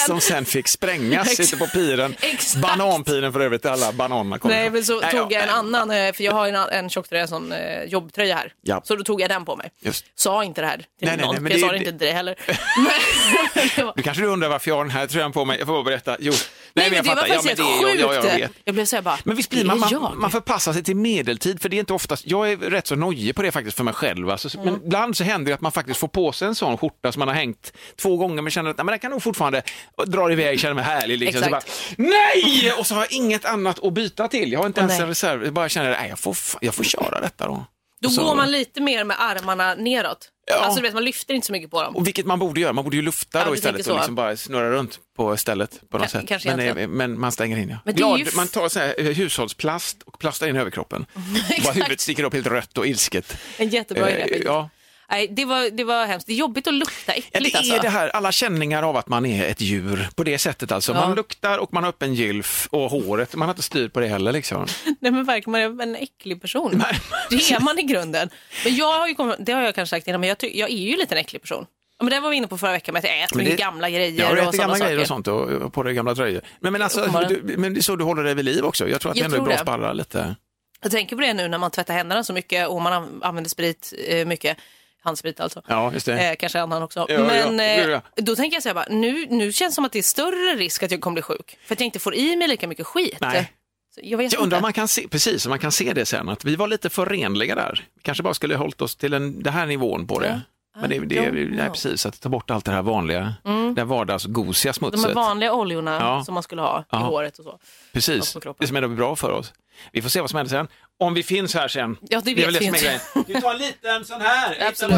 Som sen fick sprängas Exakt. ute på piren. Exakt. Bananpiren för övrigt, alla bananerna kom Nej, ifrån. men så Nej, tog ja, jag en nej. annan, eh, för jag har en, en tjocktröja, som eh, jobbtröja här. Ja. Så då tog jag den på mig. Just. Sa inte det här till Nej, nej, någon, nej, men för jag det- sa det inte till dig heller. Men, det var- Du kanske undrar varför jag har den här tröjan på mig. Jag får bara berätta. Jo. Nej, nej, men jag det var fattar. faktiskt ja, men helt det, sjukt. är- eh. Ja, ja, jag vet. jag blev såhär bara, Men visst det blir är man, jag. man, man förpassar sig till medeltid, för det är Mm. inte oftast, jag är rätt så nojig på det faktiskt för mig själv. Alltså, Men ibland så händer det att man faktiskt får på sig en sån skjorta skjorta som man har hängt två gånger men känner att nej, men den kan nog fortfarande dra iväg, känner mig härlig. Liksom. Så bara, Exakt. nej! Och så har jag inget annat att byta till. Jag har inte ens Nej. en reserv. Jag bara känner nej, jag, får, fa- jag får köra detta då. Då Och så- går man lite mer med armarna neråt. Ja. Alltså du vet, man lyfter inte så mycket på dem. Och vilket man borde göra, man borde ju lufta Ja, då du istället tänker och så. liksom bara snurra runt på stället på något Ka- sätt. kanske Men, eh, egentligen. men man stänger in ja. Men det är Glad, ju f- Man tar så här, eh, hushållsplast och plastar in överkroppen. Och bara huvudet sticker upp helt rött och ilsket. En jättebra idé. Eh, faktiskt. ja. Nej, det var, det var hemskt. Det är jobbigt att lukta Ja, äckligt det är alltså. det här, alla känningar av att man är ett djur på det sättet alltså. Ja. Man luktar och man har öppen gylf och håret, man har inte styr på det heller liksom. Nej men verkar man är en äcklig person. Det är man i grunden. Men jag har ju kommit, det har jag kanske sagt innan, men jag, ty- jag är ju lite en äcklig person. Ja, men det var vi inne på förra veckan med att jag äter Men mycket det- gamla Ja, grejer du och äter sådana gamla saker. grejer och sånt och och på dig gamla tröjor. Men, men alltså, Uppenbarligen. du, men det är så du håller dig vid liv också. Jag tror att Jag det ändå är tror bra att det. sparra lite. Jag tänker på det nu när man tvättar händerna så mycket och man an- använder sprit eh, mycket. Handsprit alltså. Ja, just det. Eh, kanske annan också. Ja, men ja, eh, ja, då tänker jag så här bara, nu, nu känns det som att det är större risk att jag kommer bli sjuk. För att jag inte får i mig lika mycket skit. Nej. Så Jag vet Jag undrar inte. om man kan se, precis, om man kan se det sen, att vi var lite för renliga där. Vi kanske bara skulle ha hållit oss till den, den här nivån på det. Men det, det, don't nej, know. precis, att ta bort allt det här vanliga, det här vardagsgosiga Mm. De här smutset. vanliga oljorna Ja. som man skulle ha Ja. i håret och så. Precis, på kroppen. det som ändå blir bra för oss. Vi får se vad som händer sen. Om vi finns här sen. Ja, det det är vet väl det vi som är inte. grejen. Du tar en liten sån här. Absolut.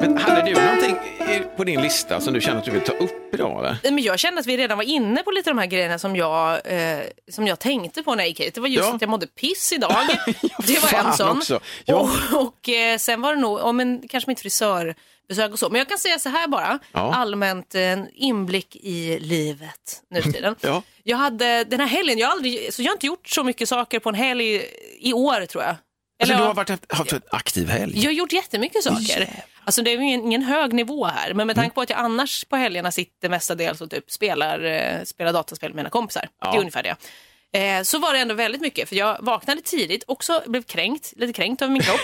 Men hade du någonting i- på din lista som du känner att du vill ta upp idag? Eller? Alltså, Nej, Men jag kände att vi redan var inne på lite de här grejerna som jag, eh, som jag tänkte på när jag gick hit. Det var just Ja. att jag mådde piss idag. det var fan en sån. också. Ja. Och, och eh, sen var det nog, ja, men, kanske mitt frisörbesök och så. Men jag kan säga så här bara, Ja. allmänt eh, en inblick i livet nu för tiden. Ja. Jag hade den här helgen, jag har, aldrig, så jag har inte gjort så mycket saker på en helg i, i år tror jag. Alltså, du ja. har varit haft, haft en aktiv helg. Jag har gjort jättemycket saker. Alltså det är ju ingen, ingen hög nivå här, men med Mm. tanke på att jag annars på helgerna sitter mestadels och typ spelar, eh, spelar dataspel med mina kompisar, det är ungefär det. Eh, så var det ändå väldigt mycket, för jag vaknade tidigt, också blev kränkt, lite kränkt över min kropp.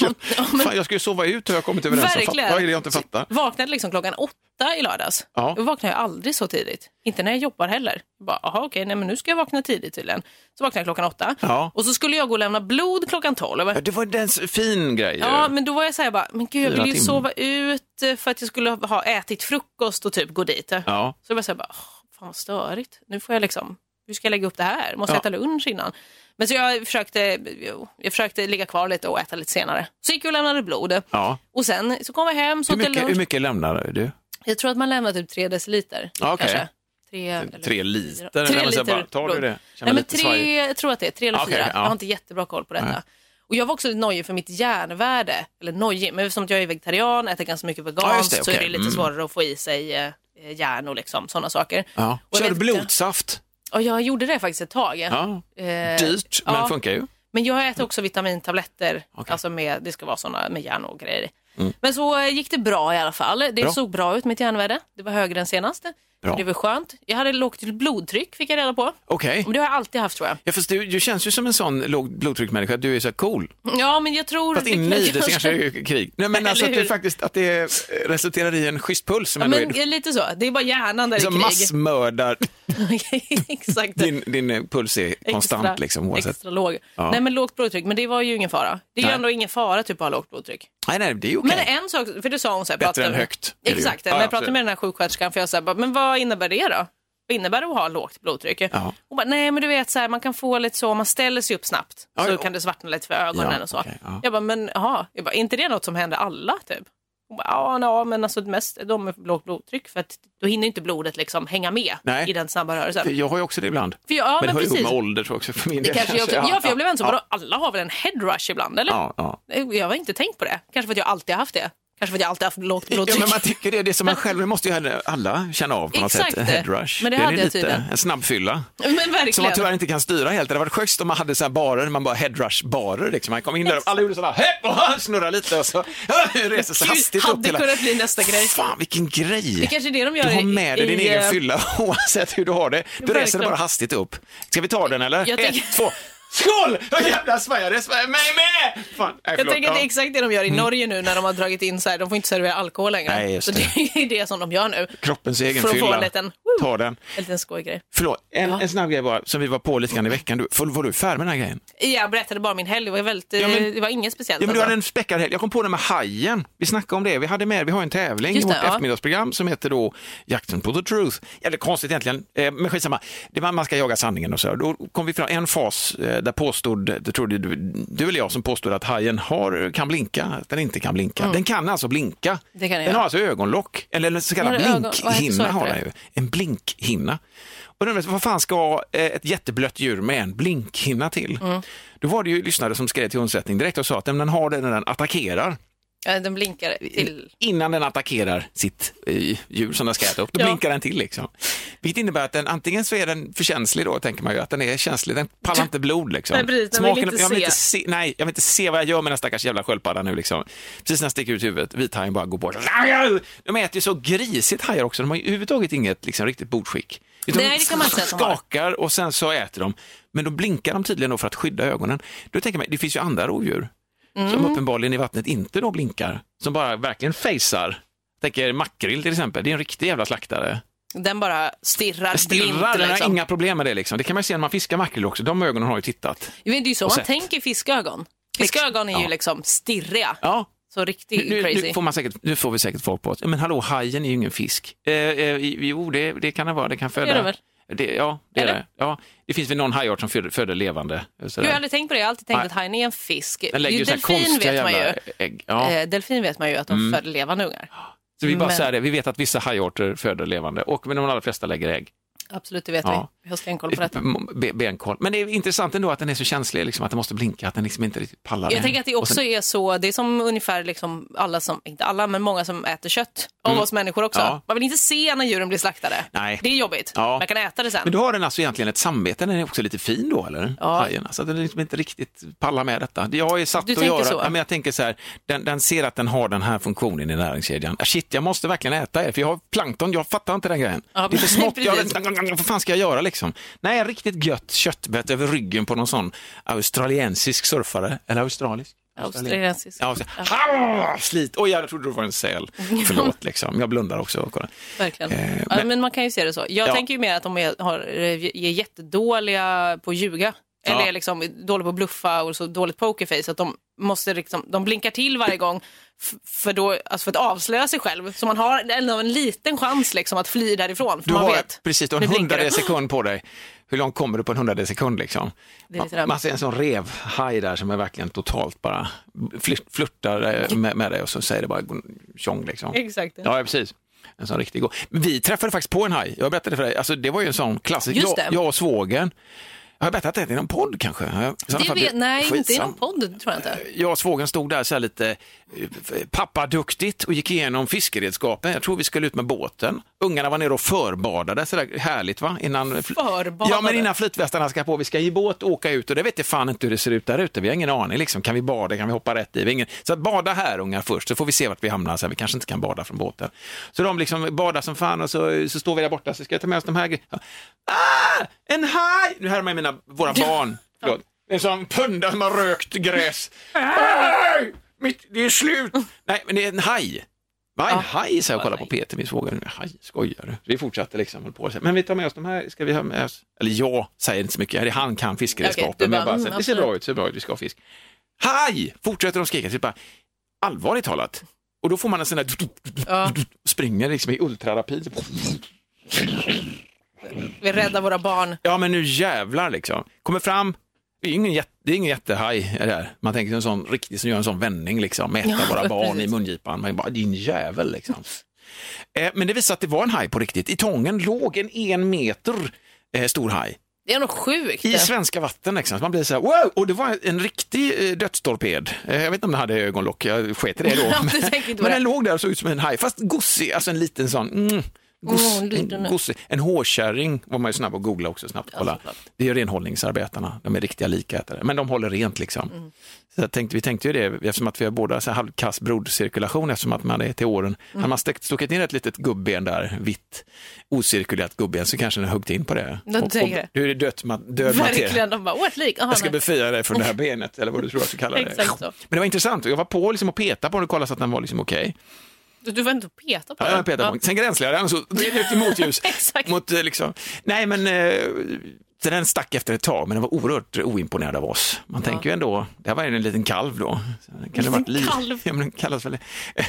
Ja, Fan, jag skulle sova ut hur jag kommit överens om. Fa- Verkligen. Vad är det jag inte fattar? Vaknade liksom klockan åtta i lördags. Ja. Då vaknar jag aldrig så tidigt. Inte när jag jobbar heller. Jag Bara, aha, okej, nej, men nu ska jag vakna tidigt tydligen. Så vaknade jag klockan åtta. Ja. Och så skulle jag gå och lämna blod klockan tolv. Ja, Det var en s- fin grej. ju. Ja, men då var jag så här bara, men gud jag Fyra ville ju timmar. sova ut eh, för att jag skulle ha- ha ätit frukost och typ gå dit. eh. Ja. Så jag bara så här bara, åh, fan vad störigt. Nu får jag liksom, hur ska jag lägga upp det här? Måste Ja. jag äta lunch innan? Men så jag försökte, jo, jag försökte ligga kvar lite och äta lite senare. Så gick jag och lämnade blod. Ja. Och sen så kom jag hem, så Hur, åt jag mycket, hur lunch. mycket lämnar du? Jag tror att man lämnar typ tre deciliter. Ja, okej. kanske. Tre, eller Tre fyra. liter? Tre Nej, men så liter bara, tar du blod. det? Känner Nej, men lite svajigt. tre, jag tror att det är tre eller Okej, fyra. ja. Jag har inte jättebra koll på detta. Nej. Och jag var också lite nojig för mitt järnvärde. Eller nojig, men eftersom att jag är vegetarian, äter ganska mycket Ja, veganskt just det, så är okej. det lite Mm. svårare att få i sig eh, järn och liksom, sådana saker. Ja. Och jag Kör du vet inte. blodsaft? Och jag gjorde det faktiskt ett tag. Ja. Eh, Dyrt, ja. men funkar ju. Men jag äter också vitamintabletter, Okej. Mm. alltså med, det ska vara såna med järn och grejer i. Men så eh, gick det bra i alla fall. Det Bra. såg bra ut mitt järnvärde. Det var högre än senaste. Bra. Det var skönt. Jag hade lågt blodtryck fick jag reda på. Okej. Men det har jag alltid haft tror jag. Ja, fast du, du känns ju som en sån låg blodtrycksmänniska, du är så här cool. Ja, men jag tror... Fast inne i det så kanske det är krig. Nej, men Eller alltså att det, hur? faktiskt, att det resulterar i en schysst puls som Ja, ändå men är... eh, lite så. Det är bara hjärnan där i Som krig. massmördar, Exakt. din, din eh, puls är konstant extra, liksom oavsett. Extra låg. Ja. Nej, men lågt blodtryck. Men det var ju ingen fara. Det är ju Nej. ändå ingen fara typ att ha lågt blodtryck. Nej, nej, det är ju okej. Men en sak, för det sa hon så här, Bättre pratade än med- högt, är det ju. Exakt, Ja, men jag absolut. pratade med den här sjuksköterskan för jag sa, men vad innebär det då? Vad innebär det att ha lågt blodtryck? Ja. Hon bara, nej men du vet så här, man kan få lite så, om man ställer sig upp snabbt Ja, så ja. kan det svartna lite för ögonen Ja, och så. okej, ja. Jag bara, men jaha, jag bara, är inte det något som händer alla typ? Hon bara, ja, ja men alltså mest de med lågt blodtryck för att då hinner inte blodet liksom hänga med Nej. i den snabba rörelsen. Jag har ju också det ibland. För jag, ja, men det men, har ju ihop precis. med ålder tror jag också för min Det del. kanske jag, också- ja, för jag blev en så, ja. vadå, alla har väl en headrush ibland eller? Ja, ja. Eh, Jag har inte tänkt på det. Kanske för att jag alltid har haft det. Kanske för att jag alltid har haft lågt Ja, blodtryck. men man tycker det, det är som man själv, det måste ju alla känna av på något Exakt. sätt. Headrush. Men det Den hade är jag lite tydligen. En snabbfylla. men, Som man verkligen. tyvärr inte kan styra helt. Det hade varit schysst om man hade så här barer, man bara headrush-barer. Liksom. Man kom in där och alla gjorde sådana här, "Hepp!" och han snurrade lite och så reser sig Gud, hastigt hade upp. till- kunnat bli nästa grej. Fan vilken grej. Det kanske är det de Du gör har i- med dig din i, egen eh, fylla oavsett hur du har det. Du reser dig verkligen. bara hastigt upp. Ska vi ta den eller? Jag tänker- Ett, två, skål! Jag jävlar svajade, svajade mig med! Fan, nej, Jag förlåt. tänker att det är Ja. Mm. exakt det de gör i Norge nu när de har dragit in så här, de får inte servera alkohol längre. Nej, just så det är det som de gör nu. Kroppens egen för att fylla. få en liten Ta den. En liten skojgrej. Förlåt, en, Ja. en snabb grej bara som vi var på lite grann i veckan. Du, för, var du färdig med den här grejen? Jag berättade bara min helg, det var, väldigt, Ja, men- eh, det var inget speciellt. Ja, men du alltså. hade en späckad helg. Jag kom på det med Hajen. Vi snackade om det. Vi hade med, vi har en tävling i Just vårt det, ja. eftermiddagsprogram som heter då Jakten på the truth. Ja, det är konstigt egentligen, eh, men skitsamma. Det man, man ska jaga sanningen och så. Då kom vi fram en fas eh, där påstod, det trodde du, du eller jag som påstod att hajen har, kan blinka, att den inte kan blinka. Den kan alltså blinka. Mm. Det kan den den göra. har alltså ögonlock, eller en så kallad Har den ögon- vad heter- så blinkhinna heter har det? den ju. En blinkhinna. Och då undrar jag, vad fan ska eh, ett jätteblött djur med en blinkhinna till? Mm. Då var det ju lyssnare som skrev till undsättning direkt och sa att "Ja, men den har det när den attackerar. Ja, Den blinkar till... Innan den attackerar sitt eh, djur som den ska äta upp, då Ja. blinkar den till. Liksom. Vilket innebär att den antingen så är den för känslig då, tänker man ju, att den är känslig, den pallar inte blod. Liksom. Nej, precis, den vill inte jag vill se. inte se. Nej, jag vill inte se vad jag gör med den här stackars jävla sköldpaddan nu. Liksom. Precis när jag sticker ut huvudet, vithajen bara går bort. De äter ju så grisigt hajar också, de har ju överhuvudtaget inget liksom, riktigt bordskick. Utan Nej, det kan man inte säga att de har. skakar och sen så äter de. Men då blinkar de tydligen då för att skydda ögonen. Då tänker man, det finns ju andra rovdjur som Mm. uppenbarligen i vattnet inte då blinkar, som bara verkligen facear. Tänker makrill till exempel, det är en riktig jävla slaktare. Den bara stirrar, Stirrar, blint. den har Liksom. inga problem med det liksom. Det kan man ju se när man fiskar makrill också, de ögonen har ju tittat. Men Det är ju så Och man sett. tänker fiskögon. Fiskögon är ju Ja. liksom stirriga. Ja, Så nu, riktigt nu, crazy. nu, får man säkert, nu får vi säkert folk på oss. Men hallå, hajen är ju ingen fisk. Eh, eh, jo, det, det kan den vara, det kan föda. är det väl? Det- ja, det är Eller? det. Ja, det finns väl någon hajart som föder, föder levande. eh, Gud, sådär. jag har aldrig tänkt på det. Jag har alltid tänkt Nej. att hajen är en fisk. Den lägger Ju ju så här delfin konstiga vet man jävla ju. ägg. Ja. Mm. Eh, delfin vet man ju att de föder levande ungar. Så vi bara Eh, Men- säger det, vi vet att vissa hajarter föder levande och men de allra flesta lägger ägg. Absolut, det vet Ja. vi. Vi har stenkoll på detta. Be- Benkoll. Men det är intressant ändå att den är så känslig, liksom, att den måste blinka, att den liksom inte riktigt pallar. Jag tänker att det Och också sen- är så, det är som ungefär liksom alla som, inte alla, men många som äter kött av oss människor också. Mm. Ja. Man vill inte se när djuren blir slaktade. Nej. Det är jobbigt. Ja. Man kan äta det sen. Men då har den alltså egentligen ett samvete, den är också lite fin då, eller? Ja. Hajen, alltså, att den liksom inte riktigt pallar med detta. Jag är satt Du att tänker göra, så? Ja, men jag tänker så här, den, den ser att den har den här funktionen i näringskedjan. Ah, Shit, jag måste verkligen äta det, för jag har plankton, jag fattar inte den grejen. Ja, det är för smått, jag, precis. vad fan ska jag göra liksom? Nej, riktigt gött köttbett över ryggen på någon sån australiensisk surfare, eller australisk? Australiensisk. Ja, och så, "Arr, slit. Oj, jag trodde det var en säl. Förlåt, liksom. jag blundar också. och kollar. Verkligen. Eh, ja, men- men, man kan ju se det så. Jag Ja. tänker ju mer att de är, har, eh, är jättedåliga på att ljuga. Eller Ja. är liksom dåliga på att bluffa och så dåligt pokerface. Att de, måste liksom, de blinkar till varje gång f- för, då, alltså för att avslöja sig själv. Så man har ändå en liten chans liksom att fly därifrån. För Du man har vet. precis du har Nu en blinkar hundradels det. sekund på dig. Hur långt kommer du på en hundradels sekund? Liksom? Det är lite Man, där. man ser en sån revhaj där som är verkligen totalt bara flyrt, flörtar eh, med, med dig och så säger det bara tjong. Liksom. Exakt. Ja, ja, precis. En sån riktig god. Men vi träffade faktiskt på en haj. Jag berättade för dig. Alltså, det var ju en sån klassisk. Just Jag, det. jag och svågen. Har jag berättat det i någon podd kanske? Har jag- i sådana Det fall vet, blir- nej, inte i Skitsam. någon podd det tror jag inte. jag och svågen stod där så här lite eh, pappaduktigt och gick igenom fiskeredskapen. Jag tror vi skulle ut med båten. Ungarna var nere och förbadade, så där härligt va? Innan, Förbadade? Ja, men innan flytvästarna ska på. Vi ska i båt och åka ut och det vet jag fan inte hur det ser ut där ute. Vi har ingen aning liksom. Kan vi bada? Kan vi hoppa rätt i? Vi har ingen... Så att bada här ungar först så får vi se vart vi hamnar. Så här, vi kanske inte kan bada från båten. Så de liksom badar som fan och så, så står vi där borta. Så ska jag ta med oss de här grejerna. Ah, en haj! Nu härmar jag mina, våra barn. Förlåt. Det är som pundar som har rökt gräs. Hej! Mitt, det är slut! Nej, men det är en haj. Vad är en haj? Så jag kollar på Peter, min svåger. nu. Haj, skojar du? Vi fortsatte liksom, höll på. så här, Men vi tar med oss de här, ska vi ha med oss? Eller jag säger inte så mycket, det är han kan fiskeredskapen. Okej, du men jag bara, bara, så här, mm, det ser absolut. bra ut, ser bra ut, vi ska ha fisk. Haj! Fortsätter de skrika, typ bara, allvarligt talat. Och då får man en sån där, Ja, springer liksom i ultrarapid. vi räddar våra barn. Ja, men nu jävlar liksom. Kommer fram, det är ingen, jätte, det är ingen jättehaj det här. Man tänker sig en sån riktig som gör en sån vändning liksom, mäta Ja, våra barn precis. i mungipan. Man bara, din jävel liksom. eh, men det visade att det var en haj på riktigt. I tången låg en en meter eh, stor haj. Det är nog sjukt. I svenska vatten liksom. Så man blir så här, wow! Och det var en riktig eh, dödstorped. Eh, jag vet inte om den hade ögonlock, jag sket i det då. Ja, du tänker inte på men det. den låg där och såg ut som en haj, fast gossig, alltså en liten sån. Mm. Goss, Mm, liten. en, gosse, en hårkärring var man ju snabb att googla också snabbt. Kolla. såklart. det är ju renhållningsarbetarna, de är riktiga likätare, men de håller rent liksom. Mm. Så jag tänkte, vi tänkte ju det, eftersom att vi har båda så här halvkass blodcirkulation, eftersom att man är till åren. Mm. Hade man stekt, stuckit ner ett litet gubben där, vitt, ocirkulerat gubben, så kanske den huggt in på det. Jag tänker det. du är det dött, ma- död materia. Verkligen, de bara, åh ett lik. Aha, Jag ska nej. befria dig från det här benet, eller vad du tror att du kallar det. Exakt så. Men det var intressant, och jag var på liksom att peta på den och kolla så att den var liksom okej. Du, du var inte peta Ja, på den. jag petar på. Sen gränslade jag Alltså, den så drev jag ut i motljus. Exakt. mot, eh, liksom. Nej, men eh, den stack efter ett tag, men den var oerhört oimponerad av oss. Man tänker ju ändå, det här var ju en liten kalv då. Så den Kan det ha varit Liten liv? kalv. Ja, men den kallas väl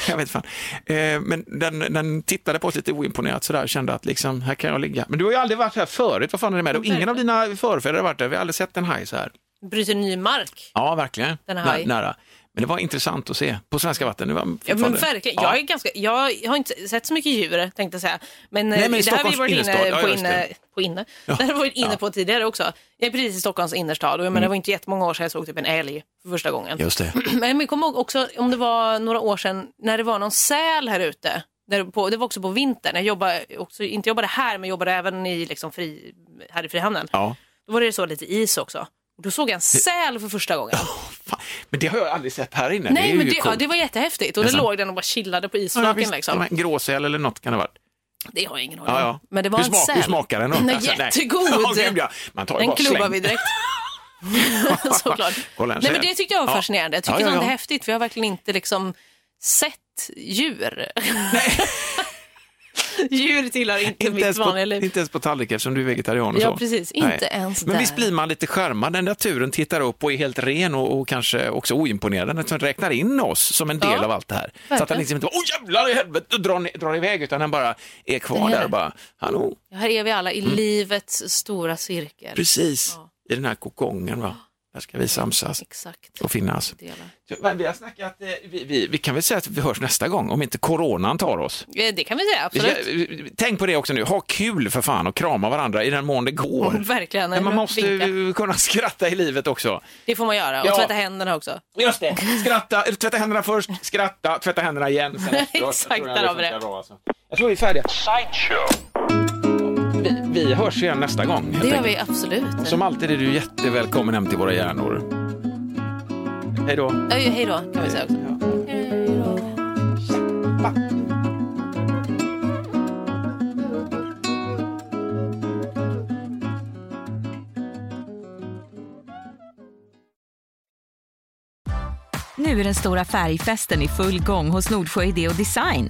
Jag vet fan. Eh, Men den, den tittade på oss lite oimponerat sådär, kände att liksom, här kan jag ligga. Men du har ju aldrig varit här förut, vad fan är det med dig? Och Ingen av dina förfäder har varit där, vi har aldrig sett en haj så här. Bryter ny mark. Ja, verkligen. Den Nä- haj. Nära. Men det var intressant att se på svenska vatten. Det var Ja, men fortfarande- verkligen. Ja. Jag, är ganska, jag har inte sett så mycket djur tänkte jag säga. Men, Nej, eh, men i det här har vi Stockholms varit innerstad. Ja, inne på. just Inne, det. på inne. Det här har vi varit inne Ja. Mm. på tidigare också. Jag är precis i Stockholms innerstad och jag menar, det var inte jättemånga år sedan jag såg typ en älg för första gången. Just det. Men jag kommer ihåg också om det var några år sedan när det var någon säl här ute. Där på, det var också på vintern. Jag jobbade, också, inte jobbade här men jobbade även i, liksom fri, här i Frihamnen. Ja. Då var det så lite is också. Och Då såg jag en säl för första gången. Fan. Men det har jag aldrig sett här inne. det är Nej, ju men det, ja, coolt. det var jättehäftigt. Och Det då är sant. låg den och bara chillade på Ja, isflaken. visst. liksom. Ja, men Gråsäl eller något kan det ha varit. Det har jag ingen aning om. Ja, ja. Men det var hur, en smak- säl. hur smakar den då? Nej, Alltså, jättegod. Ja, gud, ja. Man tar ju Den bara klubbar släng. vi direkt. Såklart. Kolla en Nej, men säl. det tyckte jag var Ja. fascinerande. Jag tycker Ja, ja, sånt är ja. häftigt för jag har verkligen inte liksom sett djur. djur tillhör inte, Inte mitt ens, på, vanliga liv. inte ens på tallrik eftersom du är vegetarian och Ja, så. precis. Nej. Inte ens Men där. visst blir man lite skärmad när naturen tittar upp och är helt ren och, och kanske också oimponerande, som räknar in oss som en del Ja, av allt det här. Så att han verkligen. liksom inte bara, åh jävlar i helvete, och drar, ner- drar iväg, utan han bara är kvar Det är där det. och bara, hallå, Här är vi alla i livets stora cirkel. Mm. precis, Ja. i den här kokongen va, där ska vi samsas Exakt. och finnas. Delar. Så, men Vi har snackat, eh, vi, vi, vi kan väl säga att vi hörs nästa gång om inte coronan tar oss. Eh, Det kan vi säga, absolut. Ja, Tänk på det också nu, ha kul för fan och krama varandra i den mån det går. Verkligen. Men man måste Vinka. ju kunna skratta i livet också. Det får man göra. Och Ja. tvätta händerna också. Just det, skratta, eller tvätta händerna först, skratta, tvätta händerna igen. Sen efteråt. Jag Exakt, tror där har vi funkar det. bra, alltså. Jag tror vi är färdiga. Vi, vi hörs igen nästa gång. helt Det gör enkelt. vi absolut. Som alltid är du jättevälkommen hem till våra hjärnor. Hej då. Ja, Hej då, kan vi säga också. Nu är den stora färgfesten i full gång hos Nordsjö Idé och Design.